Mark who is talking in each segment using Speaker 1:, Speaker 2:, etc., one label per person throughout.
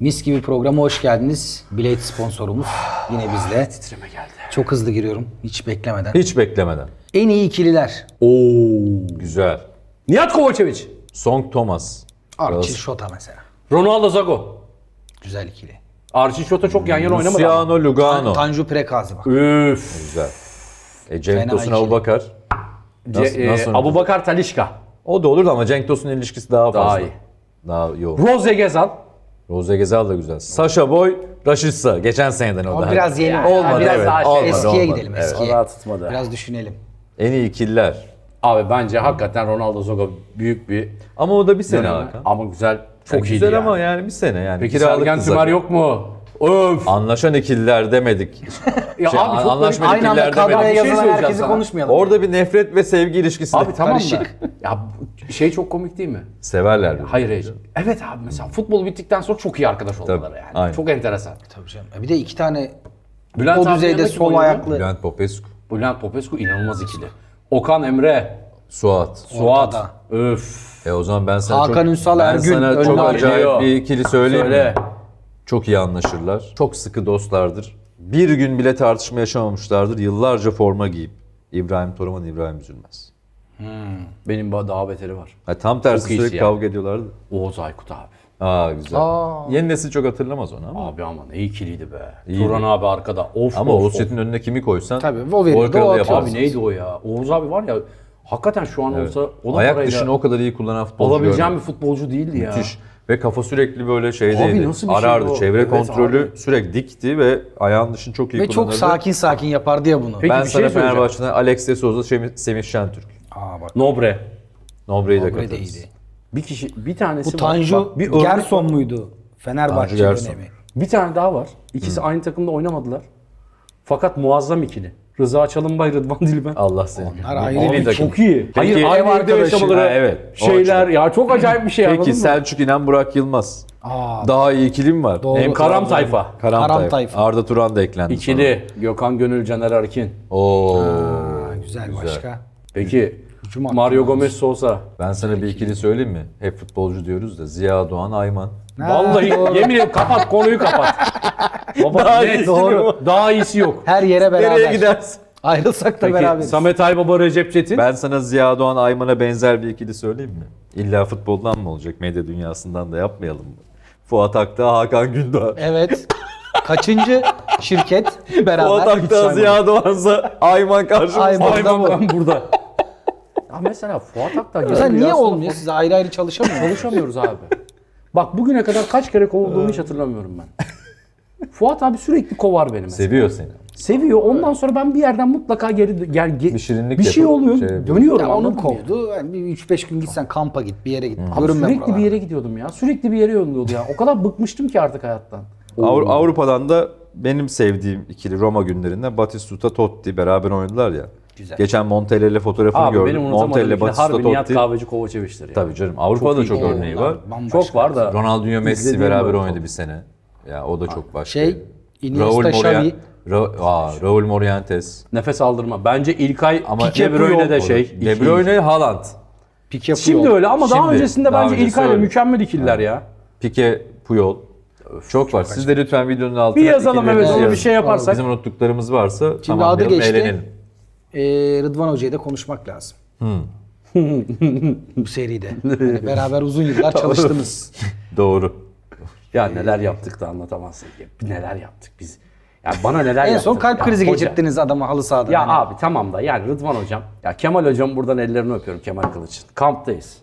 Speaker 1: Mis gibi programa hoş geldiniz. Blade sponsorumuz yine bizle.
Speaker 2: Titreme geldi.
Speaker 1: Çok hızlı giriyorum hiç beklemeden.
Speaker 2: Hiç beklemeden.
Speaker 1: En iyi ikililer.
Speaker 2: Oo güzel.
Speaker 3: Nihat Kovacevic.
Speaker 2: Song Thomas.
Speaker 1: Archie
Speaker 2: Galatasaray.
Speaker 1: Shota mesela.
Speaker 3: Ronaldo Zago.
Speaker 1: Güzel ikili.
Speaker 3: Archie Shota çok yan yana oynamadı. ama.
Speaker 2: Luciano Lugano.
Speaker 1: Tanju Prekazi bak.
Speaker 3: Üf.
Speaker 2: Güzel. E, Cenk
Speaker 1: Fena
Speaker 2: Tosun
Speaker 1: ikili.
Speaker 2: Abu Bakar. Nasıl- nasıl oynadı?
Speaker 3: Abu Bakar e, Talişka.
Speaker 2: O da olur da ama Cenk Tosun ilişkisi daha fazla.
Speaker 3: Daha
Speaker 2: Daha
Speaker 3: iyi.
Speaker 2: Daha yoğun.
Speaker 3: Rose Gezan.
Speaker 2: Rose Gezal da güzel. Sasha Boy, Rashid Sa. Geçen seneden o
Speaker 1: O
Speaker 2: da.
Speaker 1: biraz yeni.
Speaker 2: Olmadı
Speaker 3: biraz
Speaker 2: evet.
Speaker 3: daha şey.
Speaker 2: olmadı,
Speaker 1: Eskiye
Speaker 2: olmadı.
Speaker 1: gidelim
Speaker 2: Evet.
Speaker 1: eskiye.
Speaker 3: Vallahi tutmadı.
Speaker 1: Biraz düşünelim.
Speaker 2: En iyi ikililer.
Speaker 3: Abi bence hakikaten Ronaldo Zago büyük bir
Speaker 2: Ama o da bir sene
Speaker 3: dönem.
Speaker 2: Hakan.
Speaker 3: Ama güzel. Çok
Speaker 2: Yani
Speaker 3: iyiydi
Speaker 2: güzel
Speaker 3: yani.
Speaker 2: ama yani bir sene yani.
Speaker 3: Peki
Speaker 2: Kiralık
Speaker 3: Sergen
Speaker 2: kızlar.
Speaker 3: Tümer yok mu? Öf.
Speaker 2: Anlaşan ikililer demedik.
Speaker 3: Ya
Speaker 2: Şey,
Speaker 3: abi çok
Speaker 2: anlaşmadık
Speaker 1: Aynı anda
Speaker 2: ikililer demedik.
Speaker 1: kadroya
Speaker 3: Bir şey
Speaker 1: yazılan
Speaker 3: söyleyeceğim
Speaker 1: herkesi
Speaker 3: sana.
Speaker 1: konuşmayalım.
Speaker 2: Orada bir nefret ve sevgi ilişkisi.
Speaker 3: Abi tamam da.
Speaker 1: Karışık.
Speaker 3: Ya bu şey çok komik değil mi?
Speaker 2: Severler. birbirini.
Speaker 3: Hayır hayır. Evet abi mesela futbol bittikten sonra çok iyi arkadaş oldular
Speaker 2: Tabii,
Speaker 3: yani.
Speaker 2: aynen.
Speaker 3: Çok enteresan.
Speaker 1: Tabii canım. E Bir de iki tane
Speaker 3: Bülent
Speaker 1: o
Speaker 3: abi
Speaker 1: düzeyde
Speaker 3: yanındaki
Speaker 1: sol
Speaker 3: oyuncu.
Speaker 1: ayaklı.
Speaker 2: Bülent Popescu,
Speaker 3: Bülent Popescu inanılmaz ikili. Okan Emre,
Speaker 2: Suat.
Speaker 3: Suat.
Speaker 1: Ortada.
Speaker 3: Öf.
Speaker 2: E o zaman ben sana
Speaker 1: Hakan
Speaker 2: çok,
Speaker 1: Ünsal,
Speaker 2: ben
Speaker 1: Ergün,
Speaker 2: sana
Speaker 1: Önlü
Speaker 2: çok
Speaker 1: Ali.
Speaker 2: acayip
Speaker 3: Geliyor.
Speaker 2: bir ikili söyleyeyim
Speaker 3: Söyle.
Speaker 2: mi? Çok iyi anlaşırlar. Çok sıkı dostlardır. Bir gün bile tartışma yaşamamışlardır. Yıllarca forma giyip. İbrahim Toraman, İbrahim Üzülmez.
Speaker 3: Benim ba- daha beteri var.
Speaker 2: Ha, tam tersi
Speaker 3: Çok iyisi
Speaker 2: sürekli
Speaker 3: ya.
Speaker 2: kavga ediyorlardı.
Speaker 3: Oğuz Aykut abi.
Speaker 2: Aa güzel. Yeni nesil çok hatırlamaz onu ama.
Speaker 3: Abi ama ne ikiliydi be.
Speaker 2: İyiydi.
Speaker 3: Turan abi arkada. Of
Speaker 2: Ama
Speaker 3: of,
Speaker 2: Oğuz
Speaker 3: of.
Speaker 2: Çetin önüne kimi koysan
Speaker 1: Tabii, o veriyor,
Speaker 2: gol kralı
Speaker 1: o atıyor.
Speaker 2: yaparsınız.
Speaker 3: Abi neydi o ya? Oğuz abi var ya hakikaten şu an olsa o da
Speaker 2: Ayak
Speaker 3: parayla
Speaker 2: dışını o kadar iyi kullanan futbolcu
Speaker 3: olabileceğim
Speaker 2: görmedim.
Speaker 3: bir futbolcu değildi ya.
Speaker 2: Müthiş. Ve kafa sürekli böyle şeydeydi.
Speaker 3: Abi nasıl bir şey
Speaker 2: Arardı.
Speaker 3: bu?
Speaker 2: Çevre
Speaker 3: Evet
Speaker 2: kontrolü
Speaker 3: abi.
Speaker 2: sürekli dikti ve ayağın dışını çok iyi
Speaker 1: Ve
Speaker 2: kullanırdı.
Speaker 1: çok sakin sakin yapardı ya bunu.
Speaker 3: Peki
Speaker 2: ben
Speaker 3: bir şey
Speaker 2: sana
Speaker 3: söyleyeceğim.
Speaker 2: Fenerbahçe'den Alex de Souza, Şemi- Semih Şentürk.
Speaker 1: Aa bak.
Speaker 3: Nobre.
Speaker 2: Nobre'yi de
Speaker 1: Nobre de
Speaker 2: katarız.
Speaker 1: iyiydi.
Speaker 3: Bir kişi bir tanesi
Speaker 1: Bu
Speaker 3: var.
Speaker 1: Tanju
Speaker 3: Bak, bir, örnek-
Speaker 1: Gerson muydu? Fenerbahçe
Speaker 2: Gerson.
Speaker 1: dönemi.
Speaker 3: bir tane daha var. İkisi aynı takımda oynamadılar. Fakat muazzam ikili. Rıza Çalınbay, Rıdvan Dilmen.
Speaker 2: Allah seni.
Speaker 1: Onlar ayrı bir
Speaker 2: takım.
Speaker 3: Çok iyi. Hayır,
Speaker 2: Peki-
Speaker 3: aynı evde
Speaker 2: arkadaşı.
Speaker 3: yaşamaları.
Speaker 2: Ha, evet. O
Speaker 3: Şeyler
Speaker 2: açıdan.
Speaker 3: ya çok acayip bir şey anladın
Speaker 2: Peki
Speaker 3: mı?
Speaker 2: Selçuk İnan, Burak Yılmaz.
Speaker 1: Aa,
Speaker 2: Daha iyi ikili mi var?
Speaker 1: Doğru.
Speaker 2: Hem
Speaker 3: Karam Tayfa.
Speaker 2: Karam,
Speaker 1: Karam
Speaker 2: Tayfa.
Speaker 1: Tayfa.
Speaker 2: Arda Turan da eklendi.
Speaker 3: İkili. Gökhan Gönül, Caner Erkin.
Speaker 2: sonra. Oo.
Speaker 1: güzel, başka.
Speaker 3: Peki
Speaker 1: Hücum hakkı
Speaker 3: Mario
Speaker 1: varmış.
Speaker 3: Gomez olsa.
Speaker 2: Ben sana bir ikili söyleyeyim mi? Hep futbolcu diyoruz da Ziya Doğan, Ayman.
Speaker 3: Vallahi
Speaker 1: doğru.
Speaker 3: yemin ediyorum kapat konuyu kapat. Baba
Speaker 2: Daha
Speaker 3: daha
Speaker 2: iyisi
Speaker 3: net,
Speaker 2: yok.
Speaker 3: doğru. Daha iyisi yok.
Speaker 1: Her yere beraber.
Speaker 2: Nereye gidersin?
Speaker 1: Ayrılsak da
Speaker 3: Peki
Speaker 1: beraberiz.
Speaker 3: Samet Aybaba Recep Çetin.
Speaker 2: Ben sana Ziya Doğan Ayman'a benzer bir ikili söyleyeyim mi? İlla futboldan mı olacak? Medya dünyasından da yapmayalım mı? Fuat Aktağ, Hakan Gündoğan.
Speaker 1: Evet. Kaçıncı şirket beraber?
Speaker 2: Fuat
Speaker 1: Hiç
Speaker 2: Aktağ,
Speaker 1: saymadım.
Speaker 2: Ziya Doğan'sa Ayman karşımızda.
Speaker 1: Ayman.
Speaker 2: Ayman.
Speaker 1: Burada bu.
Speaker 3: Ayman burada. ya mesela Fuat Aktağ gibi
Speaker 1: Sen
Speaker 3: bir
Speaker 1: niye
Speaker 3: aslında
Speaker 1: olmuyor? Siz ayrı ayrı çalışamıyor musunuz?
Speaker 3: Konuşamıyoruz abi. Bak bugüne kadar kaç kere kovulduğumu hiç hatırlamıyorum ben. Fuat abi sürekli kovar beni mesela.
Speaker 2: Seviyor seni.
Speaker 3: Seviyor. Ondan sonra ben bir yerden mutlaka geri gel, ge-
Speaker 2: Bir şirinlik
Speaker 3: bir şey
Speaker 2: yapıp
Speaker 3: oluyor.
Speaker 2: şey-
Speaker 3: dönüyorum.
Speaker 1: Ya onun
Speaker 3: anladın mı ya?
Speaker 1: kovdu. Yani bir 3-5 gün gitsen kampa git, bir yere git.
Speaker 3: Abi
Speaker 1: Görünme
Speaker 3: sürekli
Speaker 1: buralarda.
Speaker 3: bir yere gidiyordum ya. Sürekli bir yere yönlüyordu ya. O kadar bıkmıştım ki artık hayattan.
Speaker 2: Avru- Avrupa'dan da benim sevdiğim ikili Roma günlerinde Batistuta Totti beraber oynadılar ya.
Speaker 1: Güzel.
Speaker 2: Geçen Montella ile fotoğrafını
Speaker 3: Abi
Speaker 2: gördüm.
Speaker 3: benim unutamadığım
Speaker 2: Montella,
Speaker 3: ikili
Speaker 2: Batistuta
Speaker 3: harbi Nihat
Speaker 2: Totti.
Speaker 3: Kahveci Kovaçeviç'tir ya.
Speaker 2: Tabii canım Avrupa'da da
Speaker 3: iyi
Speaker 2: çok
Speaker 3: oldu
Speaker 2: örneği
Speaker 1: onlar.
Speaker 2: var.
Speaker 1: Bambaşka.
Speaker 3: Çok var da.
Speaker 2: Ronaldinho Messi
Speaker 3: İzlediğim
Speaker 2: beraber
Speaker 3: böyle
Speaker 2: oynadı bir sene. Ya o da çok başka.
Speaker 1: Şey, Iniesta,
Speaker 2: Raul
Speaker 1: Xavi.
Speaker 2: Morien- Ra- Aa, Raul Morientes.
Speaker 3: Nefes aldırma. Bence İlkay
Speaker 2: Ama
Speaker 3: Pike
Speaker 2: De Bruyne de
Speaker 3: şey.
Speaker 2: şey. De Bruyne, Haaland.
Speaker 1: Pik yapıyor.
Speaker 3: Şimdi öyle ama daha
Speaker 2: Şimdi,
Speaker 3: öncesinde
Speaker 2: daha
Speaker 3: bence
Speaker 2: öncesi
Speaker 3: İlkay'la
Speaker 2: öyle.
Speaker 3: mükemmel ikililer ya.
Speaker 2: Pique, Puyol. çok var. Siz de lütfen videonun altına
Speaker 3: Bir yazalım evet
Speaker 2: ikililerinizi
Speaker 3: onu bir
Speaker 2: yazın.
Speaker 3: şey yaparsak.
Speaker 2: Bizim unuttuklarımız varsa tamam
Speaker 1: adı
Speaker 2: diyelim,
Speaker 1: geçti.
Speaker 2: eğlenelim.
Speaker 1: Ee, Rıdvan Hoca'yı da konuşmak lazım. Bu seride. Hani beraber uzun yıllar çalıştınız.
Speaker 2: Doğru.
Speaker 3: Ya neler yaptık da anlatamazsın. Ya, neler yaptık biz. Ya bana neler
Speaker 1: en
Speaker 3: yaptık.
Speaker 1: son kalp
Speaker 3: Ya
Speaker 1: krizi
Speaker 3: hoca.
Speaker 1: geçirttiniz adama halı sahada.
Speaker 3: Ya
Speaker 1: Hani
Speaker 3: abi tamam da yani Rıdvan hocam. Ya Kemal hocam buradan ellerini öpüyorum Kemal Kılıç'ın. Kamptayız.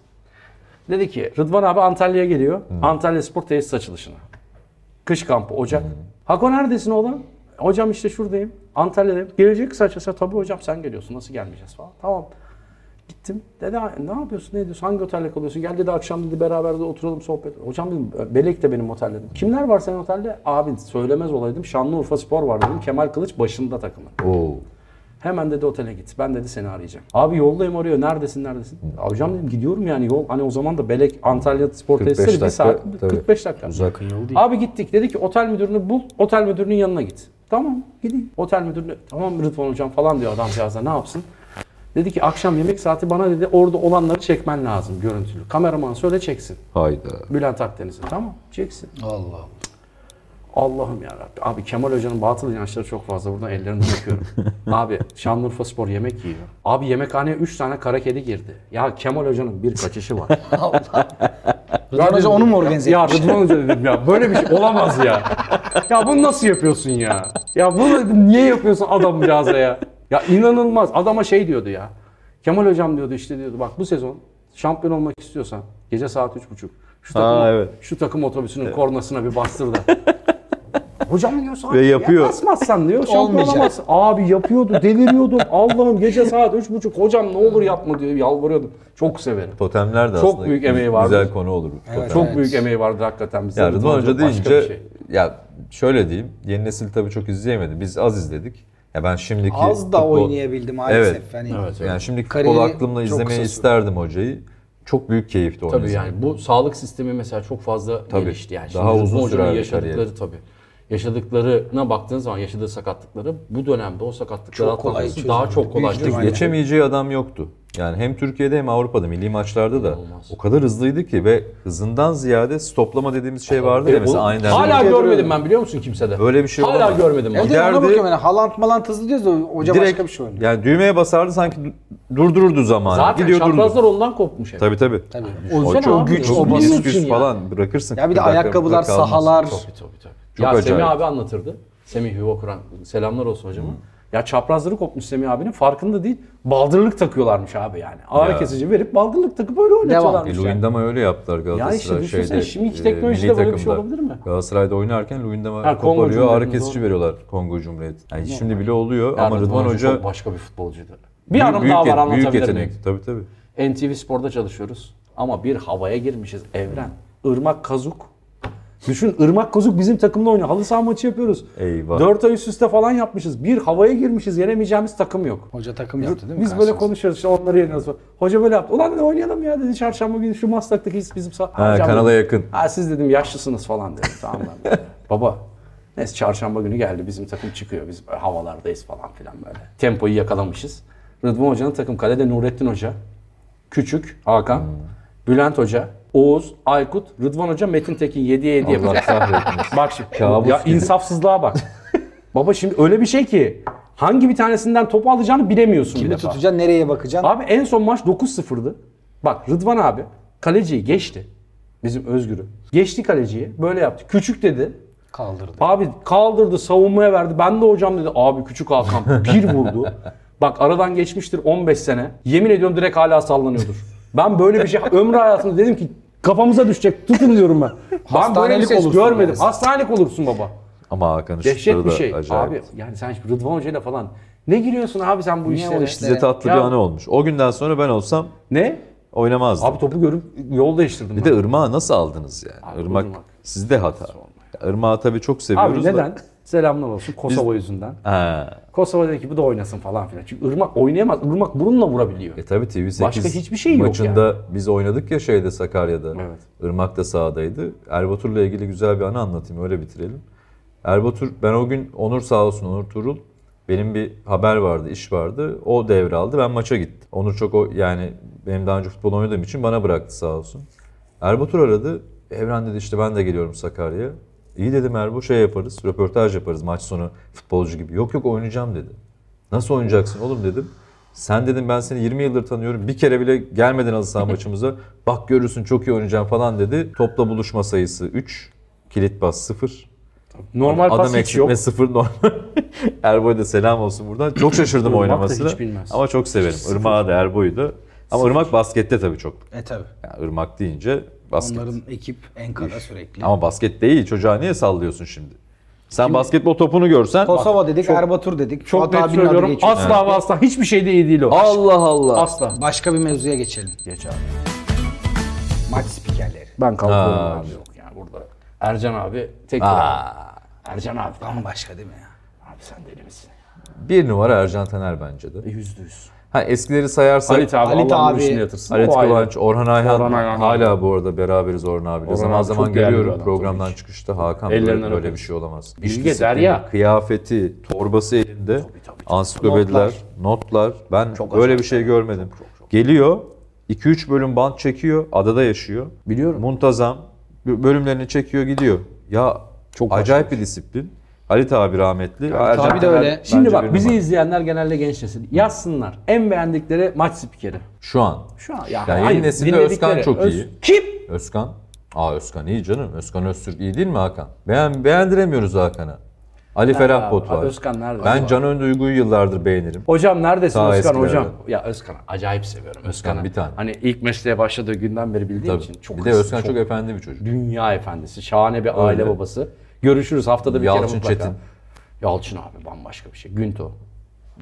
Speaker 3: Dedi ki Rıdvan abi Antalya'ya geliyor. Antalya Spor Tesis açılışına. Kış kampı Ocak. Hako neredesin oğlum? Hocam işte şuradayım. Antalya'dayım. Gelecek saçası tabii hocam sen geliyorsun. Nasıl gelmeyeceğiz falan. Tamam. Gittim. Dedi ne yapıyorsun, ne ediyorsun, hangi otelde kalıyorsun? Gel dedi akşam dedi beraber de oturalım sohbet. Hocam dedim Belek de benim otelde. dedim. Kimler var senin otelde? Abi söylemez olaydım. Şanlıurfa Spor var dedim. Kemal Kılıç başında takımın.
Speaker 2: Oo.
Speaker 3: Hemen dedi otele git. Ben dedi seni arayacağım. Abi yoldayım arıyor. Neredesin neredesin? "Ya Hocam dedim gidiyorum yani yol. Hani o zaman da Belek Antalya Spor
Speaker 2: 45
Speaker 3: Tesisleri bir
Speaker 2: dakika,
Speaker 3: saat
Speaker 2: tabii.
Speaker 3: 45 dakika.
Speaker 2: Uzak.
Speaker 3: Abi gittik. Dedi ki otel müdürünü bul. Otel müdürünün yanına git. Tamam gideyim. Otel müdürünü tamam Rıdvan hocam falan diyor adamcağız da ne yapsın? Dedi ki akşam yemek saati bana dedi orada olanları çekmen lazım görüntülü. Kameraman söyle çeksin.
Speaker 2: Hayda.
Speaker 3: Bülent Akdeniz'e tamam çeksin.
Speaker 1: Allah Allah.
Speaker 3: Allah'ım ya Rabbi. Abi Kemal Hoca'nın batıl inançları çok fazla. Buradan ellerinden öpüyorum. Abi Şanlıurfa Spor yemek yiyor. Abi yemekhaneye 3 tane kara kedi girdi. Ya Kemal Hoca'nın bir kaçışı var.
Speaker 1: Rıdvan Hoca onu mu organize
Speaker 3: ya
Speaker 1: etmiş?
Speaker 3: Rıdvan Hoca dedim ya böyle bir şey olamaz ya. Ya bunu nasıl yapıyorsun ya? Ya bunu niye yapıyorsun adamcağıza ya? Ya inanılmaz. Adama şey diyordu ya. Kemal Hocam diyordu işte diyordu bak bu sezon şampiyon olmak istiyorsan gece saat üç buçuk şu takım,
Speaker 2: evet.
Speaker 3: şu takım otobüsünün kornasına bir bastır da. Hocam diyor saat
Speaker 2: Ve yapıyor.
Speaker 3: Ya basmazsan diyor şampiyon
Speaker 1: Olmayacak.
Speaker 3: olamazsın. Abi yapıyordu deliriyordum. Allah'ım gece saat üç buçuk hocam ne olur yapma diyor yalvarıyordum. Çok severim.
Speaker 2: Totemler de
Speaker 3: Çok
Speaker 2: aslında
Speaker 3: büyük emeği
Speaker 2: güzel
Speaker 3: vardı.
Speaker 2: konu olur. Totem.
Speaker 3: Çok
Speaker 1: Evet.
Speaker 3: büyük emeği vardı hakikaten bize.
Speaker 2: Ya Rıdvan Hoca
Speaker 3: başka bir
Speaker 2: deyince
Speaker 3: şey.
Speaker 2: ya şöyle diyeyim. Yeni nesil tabii çok izleyemedi. Biz az izledik. Ya ben şimdiki
Speaker 1: Az da
Speaker 2: futbol-
Speaker 1: oynayabildim maalesef.
Speaker 2: Evet.
Speaker 1: Hani
Speaker 2: Yani şimdiki
Speaker 1: Kariyeri
Speaker 2: futbol aklımla
Speaker 1: çok
Speaker 2: izlemeyi
Speaker 1: kısa sürdü.
Speaker 2: isterdim hocayı. Çok büyük keyifti onu
Speaker 3: Tabii
Speaker 2: izlemek.
Speaker 3: yani bu sağlık sistemi mesela çok fazla
Speaker 2: Tabii.
Speaker 3: gelişti. Yani
Speaker 2: Daha
Speaker 3: Şimdi
Speaker 2: uzun
Speaker 3: futbolcunun
Speaker 2: sürer bir
Speaker 3: yaşadıkları
Speaker 2: kariyer.
Speaker 3: tabii. Yaşadıklarına baktığın zaman yaşadığı sakatlıkları bu dönemde o sakatlıkları
Speaker 1: Çok kolay
Speaker 3: atlatması daha
Speaker 1: çözüldü.
Speaker 3: çok kolay
Speaker 1: Büyük
Speaker 3: çözüldü.
Speaker 1: ihtimalle.
Speaker 2: Geçemeyeceği adam yoktu. Yani hem Türkiye'de hem Avrupa'da milli maçlarda da o kadar hızlıydı ki ve hızından ziyade stoplama dediğimiz şey vardı ya
Speaker 3: E, bu-
Speaker 2: mesela aynen.
Speaker 3: Hala
Speaker 1: Türkiye'de
Speaker 3: görmedim ben biliyor musun kimsede?
Speaker 2: Böyle bir şey
Speaker 3: Hala
Speaker 2: olamaz.
Speaker 3: görmedim ben.
Speaker 2: Ya
Speaker 1: Bir de ona
Speaker 2: Giderdi-
Speaker 1: bakıyorum yani halant malant hızlı diyoruz da hoca başka bir şey oynuyor.
Speaker 2: Yani düğmeye basardı sanki du- durdururdu zamanı.
Speaker 3: Zaten
Speaker 2: Gidiyor
Speaker 3: şaprazlar
Speaker 2: durdu.
Speaker 3: ondan kopmuş hep.
Speaker 2: Tabii tabii.
Speaker 1: Tabii.
Speaker 3: O
Speaker 2: O
Speaker 3: Sen
Speaker 2: çok
Speaker 3: abi,
Speaker 2: güç,
Speaker 3: o
Speaker 2: o
Speaker 3: basın
Speaker 2: güç,
Speaker 3: için ya.
Speaker 2: falan bırakırsın.
Speaker 1: Ya bir
Speaker 2: kırk
Speaker 1: de
Speaker 2: dakika
Speaker 1: ayakkabılar,
Speaker 2: kalmaz.
Speaker 1: sahalar.
Speaker 3: Tabii tabii tabii.
Speaker 2: Çok
Speaker 3: ya
Speaker 2: acayip.
Speaker 3: Semih abi anlatırdı. Semih Yuva Kur'an. Selamlar olsun hocama. Ya çaprazları kopmuş Semih abinin farkında değil. Baldırlık takıyorlarmış abi yani. Ağrı
Speaker 2: Ya.
Speaker 3: kesici verip baldırlık takıp öyle oynatıyorlarmış.
Speaker 2: E,
Speaker 3: yani.
Speaker 2: Luindama öyle yaptılar Galatasaray
Speaker 3: şey. Ya işte düşünsene,
Speaker 2: şeyde.
Speaker 3: şimdiki
Speaker 2: e,
Speaker 3: teknolojide
Speaker 2: milli
Speaker 3: böyle bir şey
Speaker 2: takımda.
Speaker 3: olabilir mi?
Speaker 2: Galatasaray'da oynarken Luindama
Speaker 3: Ha, Kongo
Speaker 2: koparıyor, ağrı
Speaker 3: Cumhuriyeti'nde
Speaker 2: kesici veriyorlar Kongo Cumhuriyeti. Yani şimdi bile oluyor
Speaker 3: Ya
Speaker 2: ama Rıdvan Hoca
Speaker 3: çok başka bir futbolcuydu. Bir anım daha
Speaker 2: yet-
Speaker 3: var
Speaker 2: büyük
Speaker 3: anlatabilir
Speaker 2: yetenek.
Speaker 3: miyim?
Speaker 2: Tabii tabii.
Speaker 3: NTV Spor'da çalışıyoruz ama bir havaya girmişiz evren. Irmak Kazuk. Düşün Irmak Kazuk bizim takımda oynuyor. Halı saha maçı yapıyoruz.
Speaker 2: Eyvah.
Speaker 3: 4 ay üst üste falan yapmışız. Bir havaya girmişiz. Yenemeyeceğimiz takım yok.
Speaker 1: Hoca takım yaptı değil mi?
Speaker 3: Biz böyle
Speaker 1: karşınıza?
Speaker 3: konuşuyoruz işte onları yeniyoruz. falan. Hoca böyle yaptı. Ulan dedi, oynayalım ya dedi çarşamba günü şu Maslak'taki his bizim sağ.
Speaker 2: Ha, kanala yakın.
Speaker 3: Ha siz dedim yaşlısınız falan dedim. Tamam lan dedim. Baba neyse çarşamba günü geldi bizim takım çıkıyor. Biz böyle havalardayız falan filan böyle. Tempoyu yakalamışız. Rıdvan Hoca'nın takım kalede Nurettin Hoca. Küçük Hakan.
Speaker 2: Hmm.
Speaker 3: Bülent Hoca. Oğuz, Aykut, Rıdvan Hoca, Metin Tekin 7'ye 7
Speaker 2: Allah kahretmesin.
Speaker 3: Bak şimdi
Speaker 2: Kabus
Speaker 3: ya
Speaker 2: gibi.
Speaker 3: insafsızlığa bak. Baba şimdi öyle bir şey ki hangi bir tanesinden topu alacağını bilemiyorsun bir
Speaker 1: Kimi
Speaker 3: defa.
Speaker 1: tutacaksın, nereye bakacaksın?
Speaker 3: Abi en son maç 9-0'dı. Bak Rıdvan abi kaleciyi geçti. Bizim Özgür'ü. Geçti kaleciyi. Böyle yaptı. Küçük dedi.
Speaker 1: Kaldırdı.
Speaker 3: Abi kaldırdı savunmaya verdi. Ben de hocam dedi. Abi küçük Hakan bir vurdu. Bak aradan geçmiştir 15 sene. Yemin ediyorum direkt hala sallanıyordur. Ben böyle bir şey ömrü hayatımda dedim ki kafamıza düşecek. Tutun diyorum ben. Ben böyle bir
Speaker 1: Hastanelik
Speaker 3: ses
Speaker 1: olursun
Speaker 3: görmedim.
Speaker 1: yani.
Speaker 3: Hastanelik olursun baba.
Speaker 2: Ama Hakan'ın şutları
Speaker 3: Dehşet
Speaker 2: da
Speaker 3: bir şey.
Speaker 2: acayip.
Speaker 3: Abi yani sen şimdi Rıdvan Hoca'yla falan ne giriyorsun abi sen bu
Speaker 1: Niye o
Speaker 3: işlere?
Speaker 1: işlere?
Speaker 2: Size tatlı
Speaker 3: Ya-
Speaker 2: bir anı olmuş. O günden sonra ben olsam
Speaker 3: Ne?
Speaker 2: oynamazdım.
Speaker 3: Abi topu görüp yol değiştirdim.
Speaker 2: bir de Irmak'ı nasıl aldınız yani?
Speaker 3: Abi,
Speaker 2: Irmak,
Speaker 3: Irmak.
Speaker 2: sizde hata. Ya, Irmak'ı tabii çok seviyoruz
Speaker 3: Abi
Speaker 2: da-
Speaker 3: neden? Selamlar olsun Kosova yüzünden.
Speaker 2: Ha.
Speaker 3: Kosova dedi ki bu da oynasın falan filan. Çünkü Irmak oynayamaz. Irmak burunla vurabiliyor.
Speaker 2: E tabii TV8
Speaker 3: Başka hiçbir şey yok
Speaker 2: maçında biz oynadık ya şeyde Sakarya'da.
Speaker 3: Evet.
Speaker 2: Irmak da sahadaydı. Erbatur'la ilgili güzel bir anı anlatayım öyle bitirelim. Erbatur ben o gün Onur sağ olsun Onur Turul benim bir haber vardı, iş vardı. O devraldı. Ben maça gittim. Onur çok o yani benim daha önce futbol oynadığım için bana bıraktı sağ olsun. Erbatur aradı. Evren dedi işte ben de geliyorum Sakarya'ya. İyi dedim Erbo şey yaparız, röportaj yaparız maç sonu futbolcu gibi. Yok yok oynayacağım dedi. Nasıl oynayacaksın oğlum dedim. Sen dedim ben seni 20 yıldır tanıyorum. Bir kere bile gelmeden halı saha maçımıza. Bak görürsün çok iyi oynayacağım falan dedi. Topla buluşma sayısı 3. Kilit bas 0.
Speaker 3: Normal pas
Speaker 2: Adam
Speaker 3: hiç yok.
Speaker 2: eksiltme 0 normal. Erboy'a da selam olsun buradan. Çok şaşırdım
Speaker 3: Irmak da
Speaker 2: oynamasına.
Speaker 3: hiç bilmez.
Speaker 2: Ama çok severim. Irmak'ı da Erboy'u da. Ama Irmak baskette tabii çok.
Speaker 1: E tabi.
Speaker 2: Yani Irmak deyince basket.
Speaker 1: Onların ekip Enkara sürekli.
Speaker 2: Ama basket değil. Çocuğa niye sallıyorsun şimdi? Sen basketbol topunu görsen.
Speaker 1: Kosova dedik, Erbatur dedik.
Speaker 3: Çok
Speaker 1: Fuat
Speaker 3: net
Speaker 1: abinin adı
Speaker 3: söylüyorum.
Speaker 1: geçiyor.
Speaker 3: Asla ve asla hiçbir şey de iyi değil o.
Speaker 2: Allah Allah.
Speaker 3: Asla.
Speaker 1: Başka bir mevzuya geçelim.
Speaker 3: Geç abi.
Speaker 1: Maç spikerleri.
Speaker 3: Ben
Speaker 2: Aa.
Speaker 3: kalkıyorum abi yok yani burada. Ercan abi tek
Speaker 2: Aa.
Speaker 3: Ercan abi. Abi
Speaker 1: Bambaşka değil mi ya?
Speaker 3: sen deli misin?
Speaker 2: Bir numara Ercan Taner bence de.
Speaker 3: Yüzde yüz.
Speaker 2: Ha eskileri sayarsak
Speaker 3: Halit abi
Speaker 1: Halit
Speaker 3: Allah'ın
Speaker 1: abi-
Speaker 3: işini yatırsın.
Speaker 2: Halit
Speaker 3: O ayrı.
Speaker 2: Kıvanç, Orhan Ayhan,
Speaker 3: Orhan Ayhan.
Speaker 2: hala bu arada beraberiz Orhan abiyle.
Speaker 3: Orhan
Speaker 2: zaman
Speaker 3: abi
Speaker 2: zaman
Speaker 3: çok değerli bir
Speaker 2: görüyorum
Speaker 3: adam
Speaker 2: programdan
Speaker 3: tabii ki.
Speaker 2: çıkışta Hakan
Speaker 3: Ellerinden
Speaker 2: böyle, böyle
Speaker 3: öperiz.
Speaker 2: bir şey olamaz. İş
Speaker 3: Bilge,
Speaker 2: disiplini,
Speaker 3: Derya.
Speaker 2: Kıyafeti, torbası elinde, ansiklopediler, notlar. Ben böyle bir şey görmedim. Geliyor, 2-3 bölüm band çekiyor, adada yaşıyor.
Speaker 3: Biliyorum.
Speaker 2: Muntazam bö- bölümlerini çekiyor gidiyor. Ya
Speaker 1: Çok
Speaker 2: Acayip bir disiplin. Halit abi rahmetli. Ercan
Speaker 1: abi de
Speaker 2: Tener
Speaker 1: öyle.
Speaker 2: bence
Speaker 3: Şimdi bak
Speaker 2: bir
Speaker 3: bizi
Speaker 2: numara.
Speaker 3: izleyenler genelde genç nesil. Yazsınlar en beğendikleri maç spikeri.
Speaker 2: Şu an.
Speaker 3: Şu an ya
Speaker 2: Yani yeni
Speaker 3: hayır,
Speaker 2: nesilde
Speaker 3: dinledikleri.
Speaker 2: Özkan çok
Speaker 3: Öz-
Speaker 2: iyi.
Speaker 3: Kim?
Speaker 2: Özkan. Aa Özkan iyi canım. Özkan Öztürk iyi değil mi Hakan? Beğen, beğendiremiyoruz Hakan'a. Ali Ferah Bot
Speaker 3: Aa,
Speaker 2: var.
Speaker 3: Özkan nerede?
Speaker 2: ben Can Önduygu'yu yıllardır beğenirim.
Speaker 3: Hocam neredesin
Speaker 2: Daha
Speaker 3: Özkan
Speaker 2: eskilerden.
Speaker 3: hocam? Ya Özkan'ı acayip seviyorum. Özkan'ı.
Speaker 2: bir tane.
Speaker 3: Hani ilk mesleğe başladığı günden beri bildiğim
Speaker 2: Tabii.
Speaker 3: için çok
Speaker 2: bir de
Speaker 3: hızlı,
Speaker 2: Özkan çok, efendi bir çocuk.
Speaker 3: dünya efendisi, şahane bir aile
Speaker 2: Öyle.
Speaker 3: babası. Görüşürüz haftada bir kere
Speaker 2: Yalçın
Speaker 3: mutlaka.
Speaker 2: Çetin.
Speaker 3: Yalçın abi bambaşka bir şey. Günto.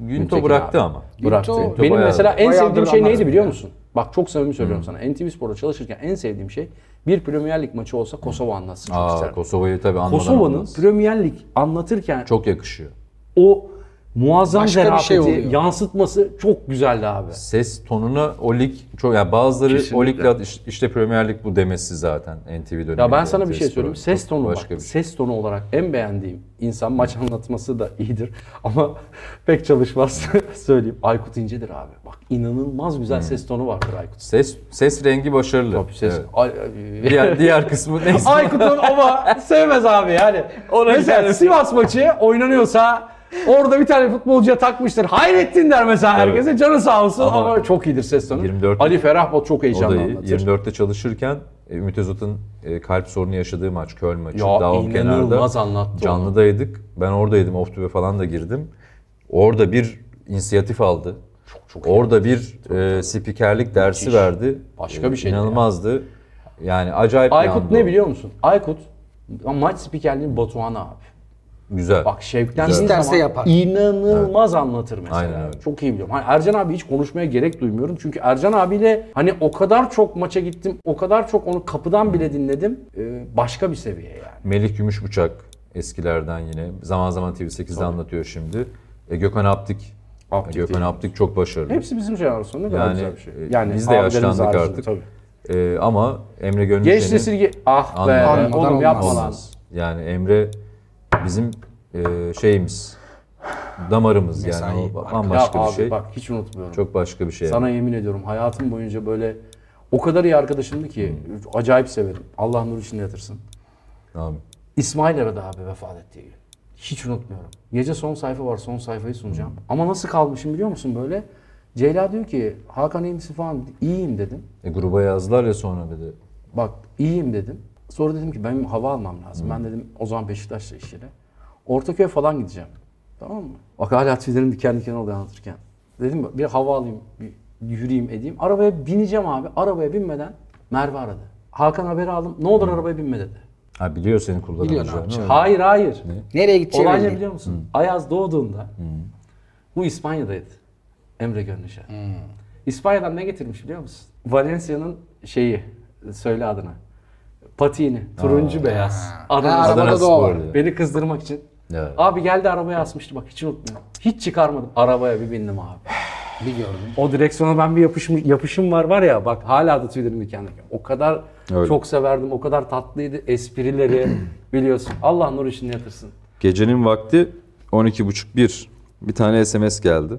Speaker 2: Günto bıraktı
Speaker 3: abi.
Speaker 2: ama.
Speaker 3: Bıraktı.
Speaker 1: Günto
Speaker 3: Benim
Speaker 2: bayağı-
Speaker 3: mesela en
Speaker 1: bayağıdır
Speaker 3: sevdiğim şey
Speaker 1: anlarsın
Speaker 3: neydi
Speaker 1: ya.
Speaker 3: biliyor musun? Bak çok samimi söylüyorum sana. NTV Spor'da çalışırken en sevdiğim şey bir Premier Lig maçı olsa Kosova anlatsın çok
Speaker 2: Aa,
Speaker 3: isterdim.
Speaker 2: Kosova'yı tabii anlamadan
Speaker 3: Kosova'nın
Speaker 2: anlamaz.
Speaker 3: Premier Lig anlatırken
Speaker 2: çok yakışıyor.
Speaker 3: o muazzam
Speaker 1: Başka bir
Speaker 3: zarafeti
Speaker 1: şey oluyor.
Speaker 3: yansıtması çok güzeldi abi.
Speaker 2: Ses tonuna o lig çok yani bazıları o
Speaker 3: Kesinlikle.
Speaker 2: ligle at- işte, Premier Lig bu demesi zaten NTV döneminde.
Speaker 3: Ya ben sana bir
Speaker 2: NTV
Speaker 3: şey söyleyeyim.
Speaker 2: Spor'a.
Speaker 3: Ses tonu
Speaker 2: başka
Speaker 3: bak.
Speaker 2: bir şey.
Speaker 3: Ses tonu olarak en beğendiğim insan maç anlatması da iyidir ama pek çalışmaz söyleyeyim. Aykut İnce'dir abi. Bak inanılmaz güzel ses tonu vardır Aykut.
Speaker 2: Ses ses rengi başarılı.
Speaker 3: Ses.
Speaker 2: Hmm. Evet.
Speaker 3: Ay-
Speaker 2: Diğer diğer kısmı neyse.
Speaker 3: Aykut'un ama sevmez abi yani.
Speaker 2: Ona
Speaker 3: mesela
Speaker 2: gider.
Speaker 3: Sivas maçı oynanıyorsa orada bir tane futbolcuya takmıştır. Hayrettin der mesela herkese. Canı sağ olsun ama,
Speaker 2: Ama
Speaker 3: çok iyidir ses tonu.
Speaker 2: 24
Speaker 3: Ali Ferahbot çok
Speaker 2: O da
Speaker 3: heyecanlı
Speaker 2: iyi.
Speaker 3: anlatır.
Speaker 2: 24'te çalışırken e, Ümit Özat'ın e, kalp sorunu yaşadığı maç, Köln maçı.
Speaker 3: Ya
Speaker 2: daha o
Speaker 3: inanılmaz
Speaker 2: kenarda.
Speaker 3: anlattı onu.
Speaker 2: Canlıdaydık. Ben oradaydım. Off tube falan da girdim. Orada bir inisiyatif aldı. Orada bir e, spikerlik dersi
Speaker 3: Müthiş.
Speaker 2: verdi.
Speaker 3: Başka
Speaker 2: E,
Speaker 3: bir şeydi
Speaker 2: İnanılmazdı. Yani acayip bir
Speaker 3: Aykut
Speaker 2: andı
Speaker 3: ne
Speaker 2: o.
Speaker 3: biliyor musun? Aykut maç spikerliği Batuhan abi.
Speaker 2: Güzel.
Speaker 3: Bak Şevklendiği
Speaker 1: Güzel.
Speaker 3: zaman
Speaker 1: İsterse yapar.
Speaker 3: inanılmaz anlatır mesela.
Speaker 2: Aynen öyle.
Speaker 3: Çok iyi biliyorum. Hani Ercan abi hiç konuşmaya gerek duymuyorum. Çünkü Ercan abiyle hani o kadar çok maça gittim, o kadar çok onu kapıdan bile dinledim. Ee, başka bir seviye yani.
Speaker 2: Melih Gümüşbıçak eskilerden yine. Zaman zaman TV8'de anlatıyor şimdi. E, Gökhan Aptik.
Speaker 3: Aptik
Speaker 2: Gökhen Gökhan
Speaker 3: değil.
Speaker 2: Aptik çok başarılı.
Speaker 3: Hepsi bizim jenerasyonda ne kadar
Speaker 2: Yani,
Speaker 3: güzel bir şey.
Speaker 2: e, biz de
Speaker 3: abilerimiz
Speaker 2: yaşlandık
Speaker 3: haricinde
Speaker 2: artık.
Speaker 3: Tabii.
Speaker 2: E, ama Emre
Speaker 3: Genç
Speaker 2: Gönülşen'in...
Speaker 3: nesil ge- ah be
Speaker 2: Anlamadan
Speaker 3: oğlum yapma lan.
Speaker 2: Olmaz. Yani Emre bizim e, şeyimiz, damarımız yani
Speaker 1: Mesai.
Speaker 2: o
Speaker 3: Ya
Speaker 2: bambaşka
Speaker 3: abi
Speaker 2: bir şey.
Speaker 3: bak hiç unutmuyorum.
Speaker 2: Çok başka bir şey.
Speaker 3: Sana yemin ediyorum hayatım boyunca böyle o kadar iyi arkadaşımdı ki
Speaker 2: Hmm.
Speaker 3: acayip severim. Allah nur içinde yatırsın.
Speaker 2: Abi.
Speaker 3: İsmail aradı abi vefat ettiği gün. Hiç unutmuyorum. Gece son sayfa var son sayfayı sunacağım.
Speaker 2: Hmm.
Speaker 3: Ama nasıl kalmışım biliyor musun böyle? Ceyla diyor ki Hakan iyi misin falan. İyiyim dedim.
Speaker 2: E, gruba yazdılar ya sonra dedi.
Speaker 3: Bak iyiyim dedim. Sonra dedim ki benim hava almam lazım. Ben dedim o zaman Beşiktaş'la iş yeri. Ortaköy falan gideceğim. Tamam mı? Bak hala tüylerim diken diken oluyor anlatırken. Dedim bir hava alayım, bir yürüyeyim edeyim. Arabaya bineceğim abi. Arabaya binmeden Merve aradı. Hakan haberi aldım. Ne olur arabaya binme dedi.
Speaker 2: Ha biliyor seni kullanabileceğini.
Speaker 1: yapacağını.
Speaker 3: Hayır hayır.
Speaker 1: Nereye gideceği
Speaker 3: Olay
Speaker 1: belli
Speaker 3: ne
Speaker 1: değil.
Speaker 3: biliyor musun? Ayaz doğduğunda bu İspanya'daydı. Emre Gönlüşen. İspanya'dan ne getirmiş biliyor musun? Valencia'nın şeyi, söyle adını. Patini, turuncu beyaz. Adana.
Speaker 1: Ha,
Speaker 3: Adana.
Speaker 1: Arabada
Speaker 2: Adana
Speaker 1: da o var.
Speaker 2: Spor diye.
Speaker 3: Beni kızdırmak için.
Speaker 2: Evet.
Speaker 3: Abi geldi arabaya asmıştı bak hiç unutmuyorum. Hiç çıkarmadım. Arabaya bir bindim abi.
Speaker 1: Bir gördüm.
Speaker 3: O direksiyona ben bir yapışım, yapışım var var ya bak hala da tüylerim diken diken. O kadar
Speaker 2: Öyle.
Speaker 3: çok severdim, o kadar tatlıydı esprileri biliyorsun. Allah nur içinde yatırsın.
Speaker 2: Gecenin vakti 12.30-1. Bir tane SMS geldi.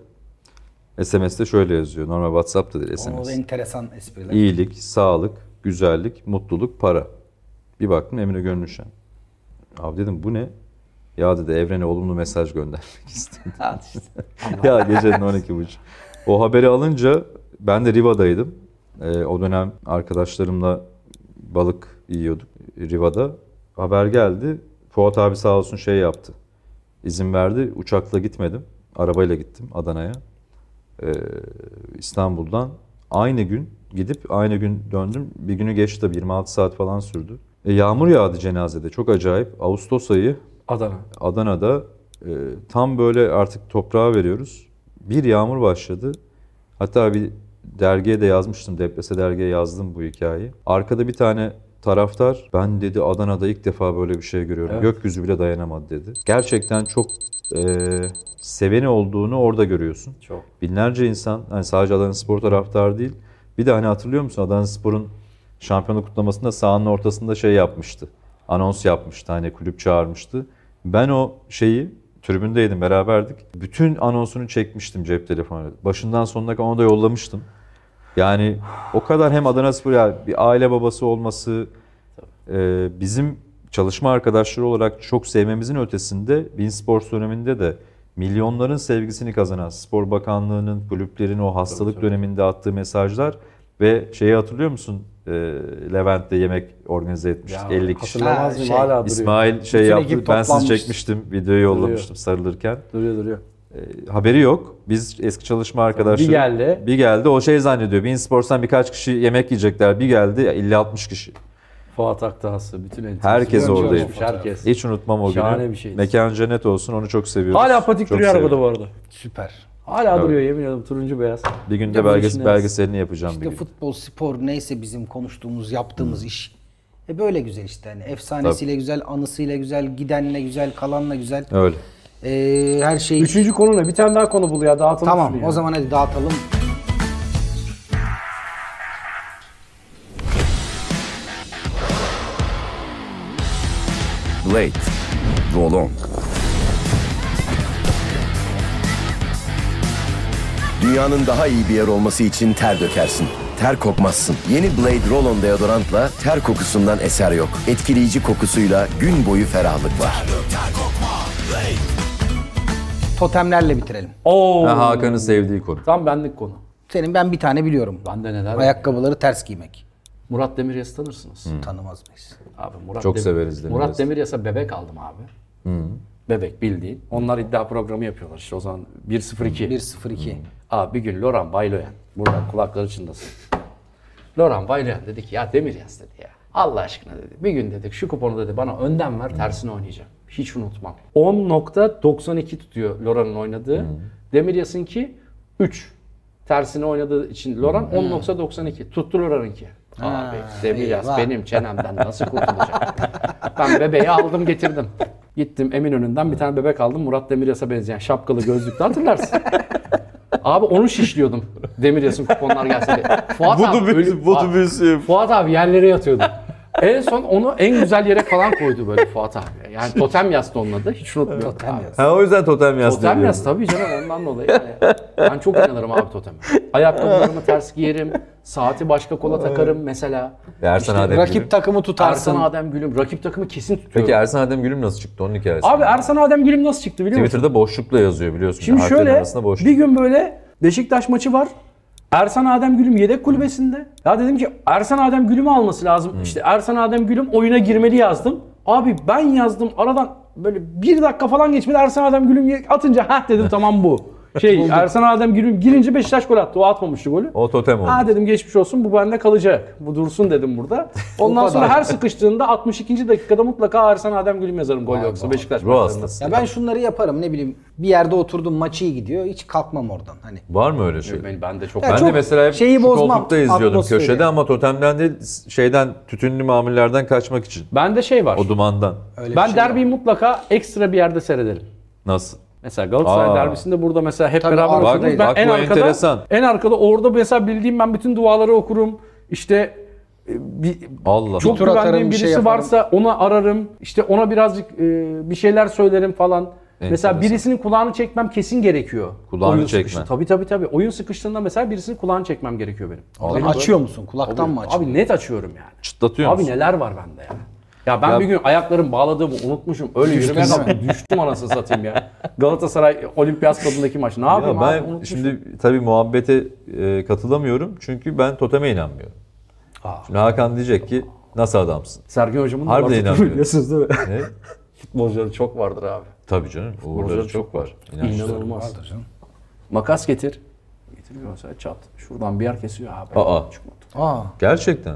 Speaker 2: SMS'te şöyle yazıyor. Normal WhatsApp'ta değil
Speaker 1: O da enteresan espriler.
Speaker 2: İyilik, sağlık, güzellik, mutluluk, para. Bir baktım Emre Gönlüşen. Abi dedim bu ne? Ya dedi evrene olumlu mesaj göndermek istedim. ya gecenin 12.30. O haberi alınca ben de Riva'daydım. Ee, o dönem arkadaşlarımla balık yiyorduk Riva'da. Haber geldi. Fuat abi sağ olsun şey yaptı. İzin verdi. Uçakla gitmedim. Arabayla gittim Adana'ya. Ee, İstanbul'dan aynı gün gidip aynı gün döndüm. Bir günü geçti tabii 26 saat falan sürdü. E, yağmur yağdı cenazede çok acayip. Ağustos ayı
Speaker 3: Adana.
Speaker 2: Adana'da e, tam böyle artık toprağa veriyoruz. Bir yağmur başladı. Hatta bir dergiye de yazmıştım. Deprese dergiye yazdım bu hikayeyi. Arkada bir tane taraftar ben dedi Adana'da ilk defa böyle bir şey görüyorum. Gökyüzü bile dayanamadı dedi. Gerçekten çok e, seveni olduğunu orada görüyorsun.
Speaker 3: Çok.
Speaker 2: Binlerce insan hani sadece Adana Spor taraftarı değil. Bir de hani hatırlıyor musun Adana Spor'un şampiyonluk kutlamasında sahanın ortasında şey yapmıştı. Anons yapmıştı hani kulüp çağırmıştı. Ben o şeyi tribündeydim beraberdik. Bütün anonsunu çekmiştim cep telefonuyla. Başından sonuna kadar onu da yollamıştım. Yani o kadar hem Adana Spor yani bir aile babası olması e, bizim çalışma arkadaşları olarak çok sevmemizin ötesinde Bein Sports döneminde de milyonların sevgisini kazanan Spor Bakanlığı'nın, kulüplerin o hastalık döneminde attığı mesajlar ve şeyi hatırlıyor musun? Ee, Levent'te yemek organize etmiştik 50 kişi.
Speaker 1: Ha,
Speaker 3: Hatırlamaz mıyım?
Speaker 1: şey,
Speaker 3: Hala duruyor.
Speaker 2: İsmail şey
Speaker 1: Bütün
Speaker 2: yaptı.
Speaker 1: ekip
Speaker 2: Ben sizi
Speaker 1: toplanmış.
Speaker 2: çekmiştim. Videoyu yollamıştım sarılırken.
Speaker 3: Duruyor duruyor.
Speaker 2: E, Haberi yok. Biz eski çalışma arkadaşları...
Speaker 3: Bir geldi.
Speaker 2: Bir geldi. O şey zannediyor. Bein Sports'tan birkaç kişi yemek yiyecekler. Bir geldi 50-60 kişi.
Speaker 3: Fuat Aktahası, bütün enteresan.
Speaker 2: Herkes
Speaker 3: Görmüş
Speaker 2: oradaydı.
Speaker 3: olmuş, Herkes.
Speaker 2: Hiç unutmam o
Speaker 3: Şahane
Speaker 2: günü.
Speaker 3: bir şeydi.
Speaker 2: Mekan cennet olsun. Onu çok seviyoruz.
Speaker 3: Hala patik
Speaker 2: Çok
Speaker 3: duruyor
Speaker 2: seviyorum.
Speaker 3: arabada bu arada.
Speaker 1: Süper.
Speaker 3: Hala duruyor yemin ediyorum turuncu beyaz.
Speaker 2: Bir günde
Speaker 3: Ya bu
Speaker 2: belges
Speaker 3: işin
Speaker 2: belgeselini yapacağım bir
Speaker 1: İşte
Speaker 2: gün.
Speaker 1: futbol, spor neyse bizim konuştuğumuz, yaptığımız iş. E böyle güzel işte. Hani efsanesiyle güzel, anısıyla güzel, gidenle güzel, kalanla güzel.
Speaker 2: Öyle.
Speaker 1: Ee, her şey...
Speaker 3: Üçüncü konu ne? Bir tane daha konu bul ya dağıtalım.
Speaker 1: Tamam
Speaker 3: şunu ya.
Speaker 1: o zaman hadi dağıtalım.
Speaker 4: Blade. Roll on. Dünyanın daha iyi bir yer olması için ter dökersin. Ter kokmazsın. Yeni Blade Roll-On deodorantla ter kokusundan eser yok. Etkileyici kokusuyla gün boyu ferahlık var.
Speaker 1: Totemlerle bitirelim.
Speaker 3: Oo,
Speaker 2: Ha, Hakan'ın sevdiği konu.
Speaker 3: tam benlik konu.
Speaker 1: Senin ben bir tane biliyorum.
Speaker 3: Ben de neler?
Speaker 1: Ayakkabıları ters giymek.
Speaker 3: Murat Demirel'i tanırsınız.
Speaker 1: Tanımaz mıyız?
Speaker 3: Abi Murat
Speaker 2: Çok severiz Demirel'i.
Speaker 3: Murat Demirel'e bebek aldım abi. Bebek bildiğin. Onlar iddia programı yapıyorlar işte o zaman 1-0-2.
Speaker 1: 1-0-2.
Speaker 3: Abi bir gün Loran Bayloyan, buradan kulakları çınlasın. Loran Bayloyan dedi ki ya Demir yaz dedi ya. Allah aşkına dedi. Bir gün dedik şu kuponu dedi bana önden ver tersine oynayacağım. Hiç unutmam. 10.92 tutuyor Loran'ın oynadığı. Demir Yas'ın ki 3. Tersine oynadığı için Loran 10.92. Tuttu Loran'ınki. Abi Demir Yas
Speaker 1: eyvah.
Speaker 3: benim çenemden nasıl kurtulacak? ben bebeği aldım getirdim. Gittim Eminönü'nden bir tane bebek aldım. Murat Demiryas'a benzeyen şapkalı gözlüklü hatırlarsın. Abi onu şişliyordum. Demiryas'ın kuponlar gelse diye. Fuat abi, ölü- Fuat-
Speaker 2: şey.
Speaker 3: Fuat abi yerlere yatıyordu. en son onu en güzel yere falan koydu böyle Fuat abi. Yani totem yastı onun adı. Hiç unutmuyorum.
Speaker 1: Totem
Speaker 3: abi.
Speaker 1: yaz.
Speaker 2: Ha o yüzden totem yaz
Speaker 3: Totem yaz tabii canım ondan dolayı. Yani ben çok inanırım abi toteme. Ayakkabılarımı ters giyerim. Saati başka kola takarım mesela.
Speaker 2: Ersan Adem Gülüm.
Speaker 1: Rakip takımı tutarsın.
Speaker 3: Ersan Adem Gülüm. Rakip takımı kesin tutuyorum.
Speaker 2: Peki Ersan Adem Gülüm nasıl çıktı onun hikayesi?
Speaker 3: Abi Ersan Adem Gülüm nasıl çıktı biliyor musun?
Speaker 2: Twitter'da boşlukla yazıyor biliyorsun.
Speaker 3: Şimdi
Speaker 2: Harflerin
Speaker 3: şöyle
Speaker 2: arasında boşluk.
Speaker 3: bir gün böyle Beşiktaş maçı var. Ersan Adem Gülüm yedek kulübesinde. Ya dedim ki Ersan Adem Gülüm'ü alması lazım.
Speaker 2: Hmm.
Speaker 3: İşte Ersan Adem Gülüm oyuna girmeli yazdım. Abi ben yazdım aradan böyle bir dakika falan geçmedi Ersan Adem Gülüm ye- atınca ha dedim tamam bu. Şey Ersan Adem Gülüm girince Beşiktaş gol attı. O atmamıştı golü.
Speaker 2: O totem oldu.
Speaker 3: Ha dedim geçmiş olsun bu bende kalacak. Bu dursun dedim burada. Ondan sonra her sıkıştığında 62. dakikada mutlaka Ersan Adem Gülüm yazarım gol yoksa Beşiktaş
Speaker 2: Ruh
Speaker 3: maçlarında.
Speaker 2: hastası.
Speaker 1: Ya ben şunları yaparım ne bileyim bir yerde oturdum maçı iyi gidiyor hiç kalkmam oradan hani.
Speaker 2: Var mı öyle şey?
Speaker 3: Hani Ben, ben de çok
Speaker 1: Ya
Speaker 2: Ben de
Speaker 1: çok
Speaker 2: mesela hep
Speaker 1: şeyi
Speaker 2: şu
Speaker 1: bozmam,
Speaker 2: koltukta izliyordum
Speaker 1: atmosferi.
Speaker 2: köşede ama totemden değil şeyden tütünlü mamullerden kaçmak için.
Speaker 3: Bende şey var.
Speaker 2: O dumandan.
Speaker 1: Öyle
Speaker 3: ben
Speaker 1: bir şey
Speaker 3: derbiyi mutlaka ekstra bir yerde seyrederim.
Speaker 2: Nasıl?
Speaker 3: Mesela Galatasaray
Speaker 2: Aa.
Speaker 3: derbisinde burada mesela hep
Speaker 1: Tabii,
Speaker 3: beraber
Speaker 1: bak-
Speaker 3: otururuz. Ben
Speaker 2: bak
Speaker 3: en
Speaker 2: bu
Speaker 3: arkada,
Speaker 2: enteresan.
Speaker 3: en arkada orada mesela bildiğim ben bütün duaları okurum. İşte e, bir,
Speaker 2: Allah.
Speaker 3: çok
Speaker 1: tur
Speaker 3: güvendiğim
Speaker 1: atarım, bir
Speaker 3: birisi
Speaker 1: şey yaparım.
Speaker 3: varsa ona ararım. İşte ona birazcık e, bir şeyler söylerim falan. Mesela
Speaker 2: Enteresan.
Speaker 3: birisinin kulağını çekmem kesin gerekiyor.
Speaker 2: Kulağını
Speaker 3: Oyun
Speaker 2: çekme.
Speaker 3: sıkışı- Tabii tabii tabii. Oyun sıkıştığında mesela birisinin kulağını çekmem gerekiyor benim. Benim böyle-
Speaker 1: açıyor musun? Kulaktan mı açıyorsun?
Speaker 3: Abi net açıyorum yani.
Speaker 2: çıtlatıyor
Speaker 3: Abi
Speaker 2: musun?
Speaker 3: neler var bende ya. Ya ben
Speaker 2: Ya-
Speaker 3: bir gün ayaklarım bağladığımı unutmuşum. Öyle yürümeye
Speaker 1: değil mi?
Speaker 3: kalktım. Düştüm anasını satayım ya. Galatasaray Olimpiyat Stadı'ndaki maç. Ne yapayım
Speaker 2: Ya
Speaker 3: abi?
Speaker 2: ben
Speaker 3: Unutmuşum.
Speaker 2: şimdi tabii muhabbete e, katılamıyorum çünkü ben toteme inanmıyorum. Şimdi Hakan diyecek ki nasıl adamsın?
Speaker 3: Sergen Hocam'ın da
Speaker 2: Harbiden
Speaker 3: vardı.
Speaker 2: inanmıyorum.
Speaker 3: Biliyorsunuz değil mi?
Speaker 2: Ne?
Speaker 3: Futbolcuları çok vardır abi.
Speaker 2: tabii canım. Uğurları çok var. İnançları.
Speaker 3: İnanılmaz. Makas getir. Getiriyor mesela çat. Şuradan bir yer kesiyor abi.
Speaker 2: Aa.
Speaker 3: Çıkmadı.
Speaker 1: Aa,
Speaker 2: Gerçekten.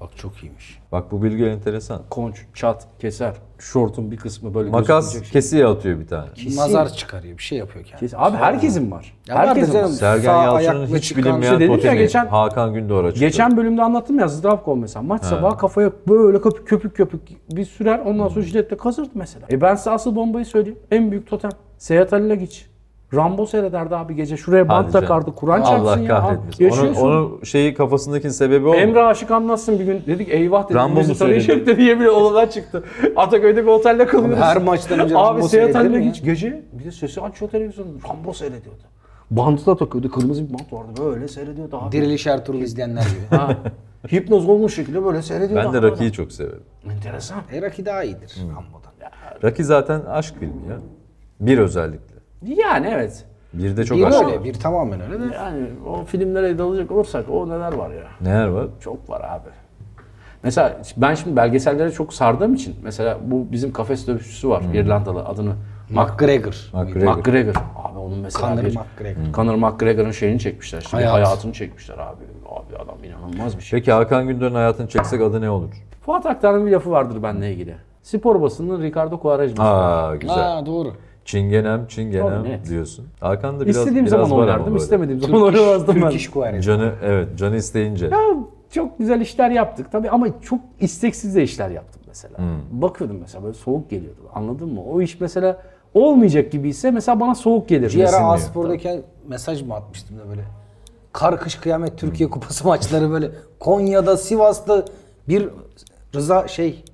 Speaker 1: bak çok iyiymiş.
Speaker 2: Bak bu bilgi enteresan.
Speaker 3: Konç, çat, keser. Şortun bir kısmı böyle
Speaker 2: Makas
Speaker 3: gözükmeyecek
Speaker 2: kesiye atıyor bir tane.
Speaker 1: Nazar çıkarıyor bir şey yapıyor kendine.
Speaker 3: şey. Abi herkesin var.
Speaker 1: Ya vardır
Speaker 3: herkesin var.
Speaker 1: canım.
Speaker 2: Sergen
Speaker 1: Sağ
Speaker 2: Yalçın'ın
Speaker 1: ayakla
Speaker 2: hiç
Speaker 1: çıkan-
Speaker 2: bilinmeyen
Speaker 3: İşte dedim ya
Speaker 2: totemi
Speaker 3: geçen-
Speaker 2: Hakan Gündoğar'a çıktı.
Speaker 3: Geçen bölümde anlattım ya Zdravkov mesela. Maç sabahı kafaya böyle köpük köpük köpük bir sürer ondan
Speaker 2: Hmm.
Speaker 3: sonra jiletle kazırdı mesela. E ben size asıl bombayı söyleyeyim. En büyük totem. Seyahat Ali Lagiç. Rambo seyrederdi abi gece. Şuraya
Speaker 2: Hadi
Speaker 3: bant
Speaker 2: canım.
Speaker 3: takardı. Kur'an çarpsın
Speaker 2: Allah
Speaker 3: ya. Abi,
Speaker 2: kahretmesin. Onun,
Speaker 3: Yaşıyorsun.
Speaker 2: onun şeyi kafasındakinin sebebi o.
Speaker 3: Emre Aşık anlatsın bir gün. Dedik eyvah dedik.
Speaker 2: Rambo
Speaker 3: Rambo
Speaker 2: mu
Speaker 3: bizi tanıyış
Speaker 2: söyledi?
Speaker 3: dedi diye bir odadan çıktı. Ataköy'deki otelde kalıyoruz.
Speaker 1: Her maçtan önce
Speaker 3: Abi
Speaker 1: Rambo
Speaker 3: Seyahat
Speaker 1: seyredilir
Speaker 3: Ali
Speaker 1: mi ya?
Speaker 3: Lagiç gece bir de sesi açıyor televizyonu. Rambo seyrediyordu. Bantı da takıyordu. Kırmızı bir bant vardı. Böyle seyrediyordu abi.
Speaker 1: Diriliş Ertuğrul izleyenler gibi.
Speaker 3: Ha.
Speaker 5: Hipnoz olmuş şekilde böyle seyrediyordu.
Speaker 2: Ben de Rocky'yi çok severim.
Speaker 3: Enteresan.
Speaker 1: E, Rocky daha iyidir
Speaker 2: Hmm.
Speaker 1: Rambo'dan.
Speaker 2: Rocky zaten aşk filmi ya. Bir özellikle.
Speaker 3: Yani evet.
Speaker 2: Bir de çok
Speaker 1: Bir
Speaker 2: aşk
Speaker 1: öyle,
Speaker 2: var.
Speaker 1: bir tamamen öyle de.
Speaker 3: Yani o filmlere dalacak olursak o neler var ya.
Speaker 2: Neler var?
Speaker 3: Çok var abi. Mesela ben şimdi belgesellere çok sardığım için mesela bu bizim kafes dövüşçüsü var
Speaker 2: Hmm.
Speaker 3: İrlandalı adını Mac
Speaker 1: McGregor.
Speaker 2: McGregor.
Speaker 3: McGregor. Abi onun mesela
Speaker 1: Conor
Speaker 3: bir-
Speaker 1: McGregor.
Speaker 2: Hmm.
Speaker 3: Conor McGregor'ın şeyini çekmişler. Şimdi
Speaker 1: Hayat.
Speaker 3: hayatını çekmişler abi. Abi adam inanılmaz bir şey.
Speaker 2: Peki Hakan Gündoğan'ın hayatını çeksek adı ne olur?
Speaker 3: Fuat Aktar'ın bir lafı vardır benimle ilgili. Spor basının Ricardo Quaresma.
Speaker 2: Aa güzel.
Speaker 1: Aa doğru.
Speaker 2: Çingenem, çingenem
Speaker 3: Tabii, net.
Speaker 2: diyorsun. Hakan da biraz
Speaker 3: İstediğim
Speaker 2: biraz
Speaker 3: zaman
Speaker 2: var ama
Speaker 3: oynardım,
Speaker 2: böyle.
Speaker 3: istemediğim zaman
Speaker 1: Türk iş,
Speaker 3: oynamazdım ben.
Speaker 1: Türk iş Quaresma.
Speaker 2: Canı evet, canı isteyince.
Speaker 3: Ya, çok güzel işler yaptık tabii ama çok isteksiz de işler yaptım mesela. Bakıyordum mesela böyle soğuk geliyordu. Anladın mı? O iş mesela olmayacak gibi ise mesela bana soğuk gelir.
Speaker 1: Bir ara
Speaker 2: Kesinlikle.
Speaker 1: Aspor'daki mesaj mı atmıştım da böyle. Kar kış kıyamet Türkiye Kupası maçları böyle Konya'da Sivas'ta bir Rıza şey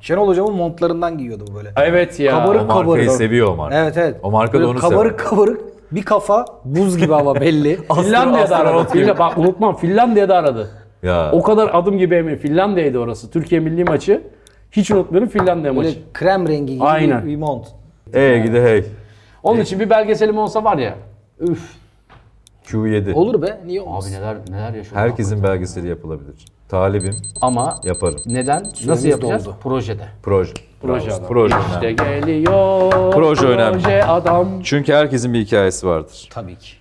Speaker 1: Şenol hocamın montlarından giyiyordu bu böyle.
Speaker 3: Evet ya.
Speaker 1: Kabarık
Speaker 2: O markayı
Speaker 1: kabarık.
Speaker 2: seviyor o marka.
Speaker 1: Evet evet.
Speaker 2: O marka da
Speaker 1: Böyle
Speaker 2: onu
Speaker 1: Kabarık
Speaker 2: sever.
Speaker 1: kabarık bir kafa buz gibi ama belli.
Speaker 3: Finlandiya'da
Speaker 2: Astronot
Speaker 3: aradı.
Speaker 2: gibi.
Speaker 3: Finla- bak unutmam Finlandiya'da aradı.
Speaker 2: Ya.
Speaker 3: O kadar adım gibi emin. Finlandiya'ydı orası. Türkiye milli maçı. Hiç unutmuyorum Finlandiya maçı.
Speaker 1: böyle krem rengi gibi
Speaker 3: Aynen.
Speaker 1: bir- bir mont.
Speaker 2: Ee gidi hey.
Speaker 3: Onun için bir belgeselim olsa var ya. Üf.
Speaker 2: Q7.
Speaker 1: Olur be niye olmasın?
Speaker 3: Abi neler neler yaşadık.
Speaker 2: Herkesin belgeseli yapılabilir. Talibim,
Speaker 3: Ama
Speaker 2: yaparım.
Speaker 3: neden? Nasıl yapacağız?
Speaker 1: doldu.
Speaker 3: Projede.
Speaker 2: Proje.
Speaker 3: Proje
Speaker 2: Bravo.
Speaker 3: adam.
Speaker 2: Proje.
Speaker 3: İşte
Speaker 2: önemli.
Speaker 3: geliyor.
Speaker 2: Proje önemli.
Speaker 3: Proje adam.
Speaker 2: Çünkü herkesin bir hikayesi vardır.
Speaker 1: Tabii ki.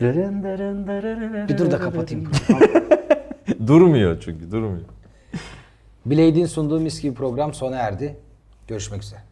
Speaker 3: Dırın dırın dırırırırır.
Speaker 1: Bir dur da kapatayım.
Speaker 2: durmuyor çünkü, durmuyor.
Speaker 1: Blade'in sunduğu mis gibi program sona erdi. Görüşmek üzere.